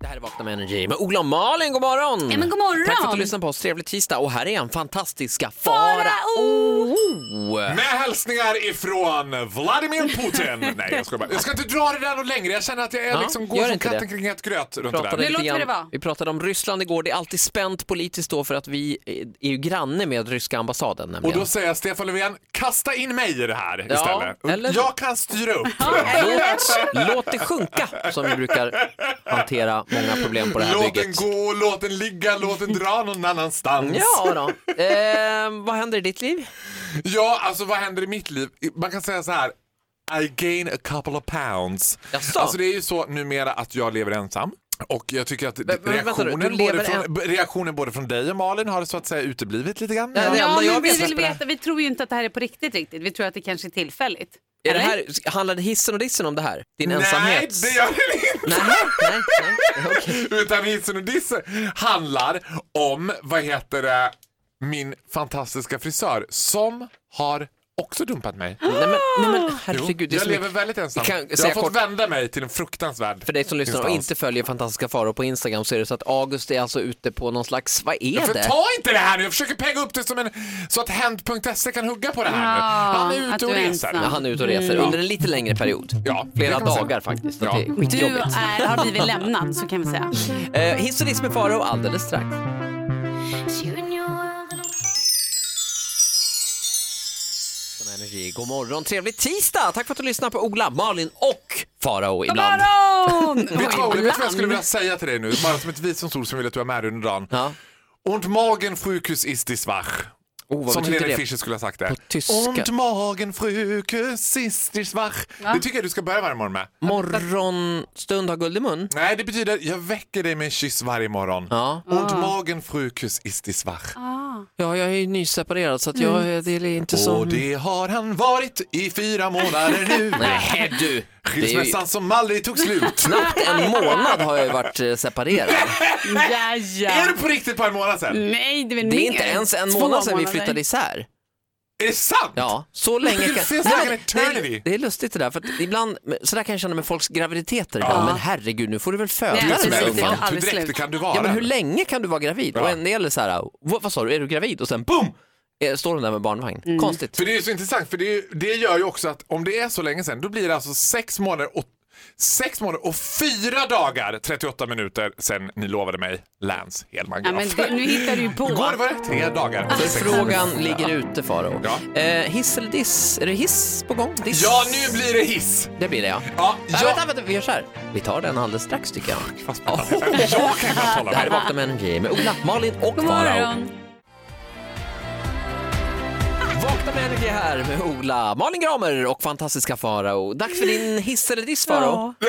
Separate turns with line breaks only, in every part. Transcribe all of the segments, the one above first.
Det här är Vakna med Energy med Ola och Malin, god morgon!
Ja, men god morgon!
Tack för att du lyssnar på oss, trevlig tisdag och här är en fantastiska
Fara oh!
Farao!
Med hälsningar ifrån Vladimir Putin. Nej, jag ska bara. Jag ska inte dra det där något längre. Jag känner att jag
Ja,
är liksom
gör
går som
inte
katten
det.
kring het gröt runt det
Pratade
där.
låter
lite
det
grann-
vara.
Vi pratade om Ryssland igår, det är alltid spänt politiskt då för att vi eh, är ju granne med ryska ambassaden
Och
nämligen.
då säger jag Stefan Löfven, kasta in mig i det här
Ja,
istället.
eller-
Jag kan styra upp.
låt, låt det sjunka som vi brukar hantera många problem på det här
Låt den
bygget.
gå, låt den ligga, låt den dra någon annanstans.
Ja då. Eh, vad händer i ditt liv?
Ja, alltså vad händer i mitt liv? Man kan säga så här. I gain a couple of pounds.
Jaså?
Alltså det är ju så numera att jag lever ensam. Och jag tycker att
men vänta nu,
reaktionen,
du lever
både från, b- reaktionen både från dig och Malin har så att säga uteblivit lite grann.
Ja, det-
Ja,
enda jag
men vi
vet
vill
om det här.
veta, vi tror ju inte att det här är på riktigt riktigt. Vi tror att det kanske är tillfälligt.
Är det
Eller?
här, handlade hissen och dissen om det här? Din
Nej,
ensamhet?
det gör den inte!
Nej, nej, nej. okej.
Utan hissen och dissen handlar om, vad heter det, min fantastiska frisör som har också dumpat mig.
Nej men, nej, men
Jo,
herregud, det är
jag
så mycket-
lever väldigt ensam.
Vi kan
jag har
säga
fått
kort-
vända mig till en fruktansvärd
För dig som lyssnar och
instans.
inte följer Fantastiska Faror på Instagram så är det så att August är alltså ute på någon slags, vad är
För
det?
ta inte det här nu, jag försöker pegga upp det som en, så att Hent.se E kan hugga på det här nu.
Ja,
Han är
att
ute och
du är
reser.
Ja,
ensam.
han är ute och reser under en lite längre period.
Ja, det
Flera
kan man säga.
dagar faktiskt.
Ja.
Det är
Du
skitjobbigt.
är, har blivit lämnad, så kan vi säga.
Eh, hiss och diss med Farao alldeles strax. Som Energy. God morgon, trevlig tisdag! Tack för att du lyssnar på Ola, Malin och Farao ibland.
Morgon!
Vet du vad, Olle, vet du vad jag skulle vilja
Ibland.
säga till dig nu? Bara som ett visdomsord som vill att du är med under dagen.
Ja.
Und Magen Frukus ist die Schwach.
Oh, vad
som
betyder
Helene
det?
Fischer skulle ha sagt det.
På tyska.
Und Magen Frukus ist die Schwach. Det tycker jag du ska börja varje morgon med.
Morgonstund har guld i mun.
Nej, det betyder jag väcker dig med en kyss varje morgon.
Ja.
Und Magen Frukus ist die Schwach.
ja, jag är ju nyseparerad så att jag, Mm. det är inte så...
Och det har han varit i fyra månader nu.
Nej du! Det är ju...
Skilsmässan som aldrig tog slut.
Knappt en månad har jag ju varit eh, separerad.
Ja,
Är
ja. Mm.
det på riktigt på en månad sen?
Nej, det är väl
Det är
mer.
inte ens en
Två
månad sedan vi
månader.
flyttade isär.
Är det sant?
Ja, så länge
Det
kan...
finns like an
det, är,
eternity.
det är lustigt det där, för att ibland, så där kan jag känna med folks graviditeter. ibland, Men herregud, nu får du väl föda
Nej,
alltså,
den där
precis, det är
ungen.
inte
hur
aldrig
dräktig
slut.
kan du vara?
Ja, men hur länge kan du vara gravid?
Ja.
Och en del är så här, vad, vad sa du, är du gravid? Och sen boom! eh, Står hon där med barnvagn. Konstigt.
Mm. För det är så intressant, för det, är- det gör ju också att om det är så länge sedan, då blir det alltså sex månader och, sex månader och fyra dagar, 38 minuter, sen ni lovade mig Lance Hedman
Ja, men
Graf.
det, nu hittar du ju på. Alltså,
Igår var det tre dagar. och sex
Frågan
minuter.
ligger ute Faro.
Ja.
Eh, hiss eller diss? Är det hiss på gång? Diss?
Ja, nu blir det hiss!
Det blir det ja.
Ja,
Nej,
ja.
Vänta, vänta, vi gör så här. Vi tar den alldeles strax tycker jag.
Jag kan knappt hålla
Det här är
mig.
Vakna med Energy med Ola, Malin och
God
Farao.
morgon.
Vakna med Energy här med Ola, Malin Gramer och fantastiska Farao. Dags för din hiss eller diss Farao.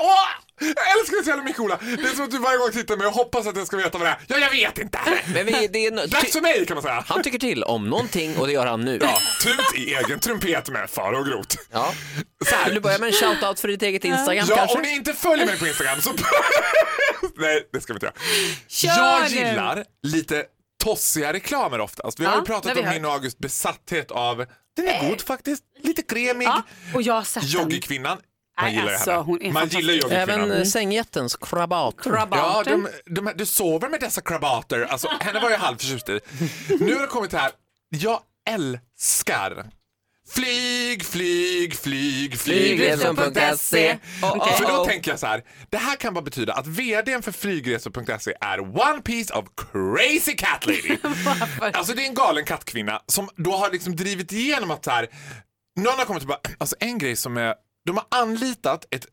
Åh! Jag älskar det så jävla mycket Ola. Det är som att du varje gång tittar mig och hoppas att jag ska veta vad det är. Ja, jag vet inte.
Men vi, det är no-
Dags
ty-
för mig kan man säga.
han tycker till om någonting och det gör han nu.
Ja, tut i egen trumpet med far och grot.
Ja.
Så här.
Vill du börja med en shoutout för ditt eget Instagram
Ja,
kanske?
om ni inte följer mig på Instagram så... Nej, det ska vi inte göra.
nu.
Jag gillar lite tossiga reklamer oftast. Vi har
Ja,
ju
det har
pratat
vi
om
hört.
min och August besatthet av den är god faktiskt, lite kremig.
Ja, och jag har sett den.
Joggikvinnan. Man
Nej,
gillar ju
alltså, hon är
henne. Man gillar
fantastisk.
Även
joggikvinnan.
eh, sängjättens krabater.
Ja,
Rabatten.
de, de, här- du sover med dessa krabater. Alltså, henne var jag halvförtjust i. Nu har det kommit här. Jag älskar flyg, flyg, flyg,
Flygresor.se.
flygresor.se.
Oh, oh,
För då
oh.
tänker jag så här. Det här kan bara betyda att vdn för flygresor.se är one piece of crazy cat lady. alltså det är en galen kattkvinna som då har liksom drivit igenom att så här. Någon har kommit och bara, alltså en grej som är, de har anlitat ett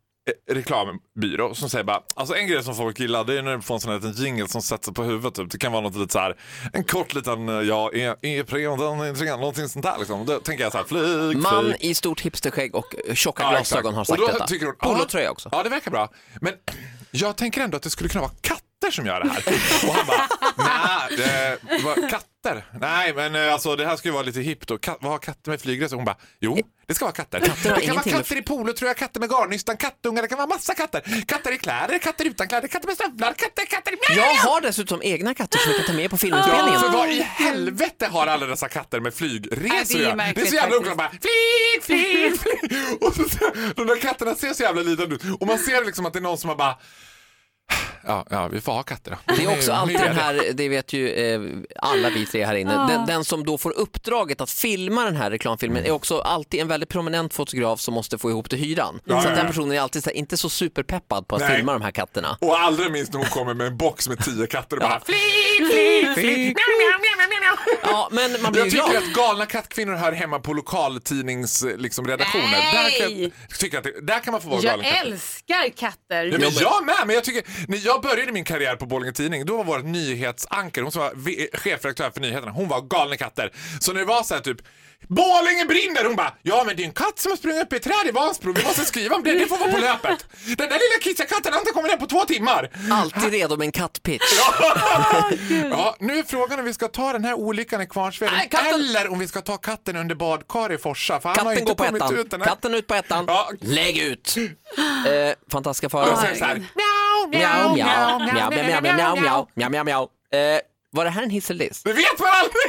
eh, reklambyrå som säger bara, alltså en grej som folk gillar det är när du får en sån här liten jingle som sätter på huvudet typ. Det kan vara något lite så här, en kort liten, eh, ja, e- Ipren, den är intressant, någonting sånt där liksom. Då tänker jag så här, flyg,
Man
flyg.
i stort hipsterskägg och tjocka
Ja,
glasögon
exakt.
har
Och
sagt
då
detta.
tycker hon,
Polotröja
"Ja,
också.
Ja, det verkar bra. Men jag tänker ändå att det skulle kunna vara katter som gör det här. Och han bara, nej, eh, vad- katter katter. Nej, men eh, alltså det här ska ju vara lite hippt och katt, vad har katter med flygresor? Hon bara, jo, det ska vara katter.
Katter har
det kan vara
ingenting med-
katter i polotröja, katter med garnnystan, kattungar, det kan vara massa katter. Katter i kläder, katter utan kläder, katter med stövlar, katter, katter.
Jag har dessutom egna katter som jag kan ta med på
Ja,
filminspelningen.
för vad i helvete har alla dessa katter med flygresor
Nej,
att
det är
göra? Det är
märkligt
så jävla
faktiskt.
oklart. Bara, Flyg, flyg, flyg. Och så, de där katterna ser så jävla lidande ut. Och man ser liksom att det är någon som har bara... Ja, ja, vi får ha katter då. Mm.
Det är också alltid den
det.
här, det vet ju eh, alla vi tre här inne, den, den som då får uppdraget att filma den här
Mm.
reklamfilmen är också alltid en väldigt prominent fotograf som måste få ihop till hyran.
Ja,
så att
ja,
den
ja.
personen är alltid så här, inte så superpeppad på att
Nej.
filma de här katterna.
Och allra minst när hon kommer med en box med tio katter och bara... Flyg, flyg, flyg.
Ja, men man blir ju glad.
Jag tycker att galna kattkvinnor hör hemma på lokaltidningsredaktioner. Liksom, redaktioner. där, kan jag,
Nej.
tycker att det, där kan man få vara galen
Jag
katt.
älskar katter.
Ja, men jag med, men jag tycker, när jag började min karriär på Borlänge Tidning, då var vårt nyhetsanker, hon som var v- chefredaktör för nyheterna, hon var galen i katter. Så när det var så här typ Borlänge brinner! Hon bara, ja men det är en katt som har sprungit upp i ett träd i Vansbro, vi måste skriva om det, det får vara på löpet. Den där lilla kittiga katten har inte kommit ner på två timmar.
Alltid redo med en kattpitch.
Ja, nu är frågan om vi ska ta den här olyckan i Kvarnsveden
Nej, katten-
eller om vi ska ta katten under badkar i Forsa, för han har
Katten
inte
går på
kommit ut
ettan.
den här.
Katten ut på ettan.
Ja.
Lägg ut! Eh, fantastiska
Jag
faror.
säger så här,
Mjau, mjau, mjau, mjau, mjau, mjau, mjau, mjau, mjau, mjau. Eh, Var det här en hiss eller diss?
det vet man aldrig!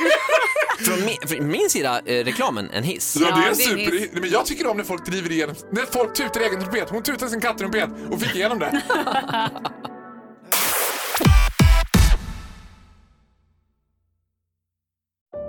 Från min, från min sida, eh, reklamen, en hiss.
Ja, det är en
det är
super...
nice.
Nej, men jag tycker om när folk driver igenom... När folk tutar i egen trumpet. Hon tutade sin kattrumpet och fick igenom det.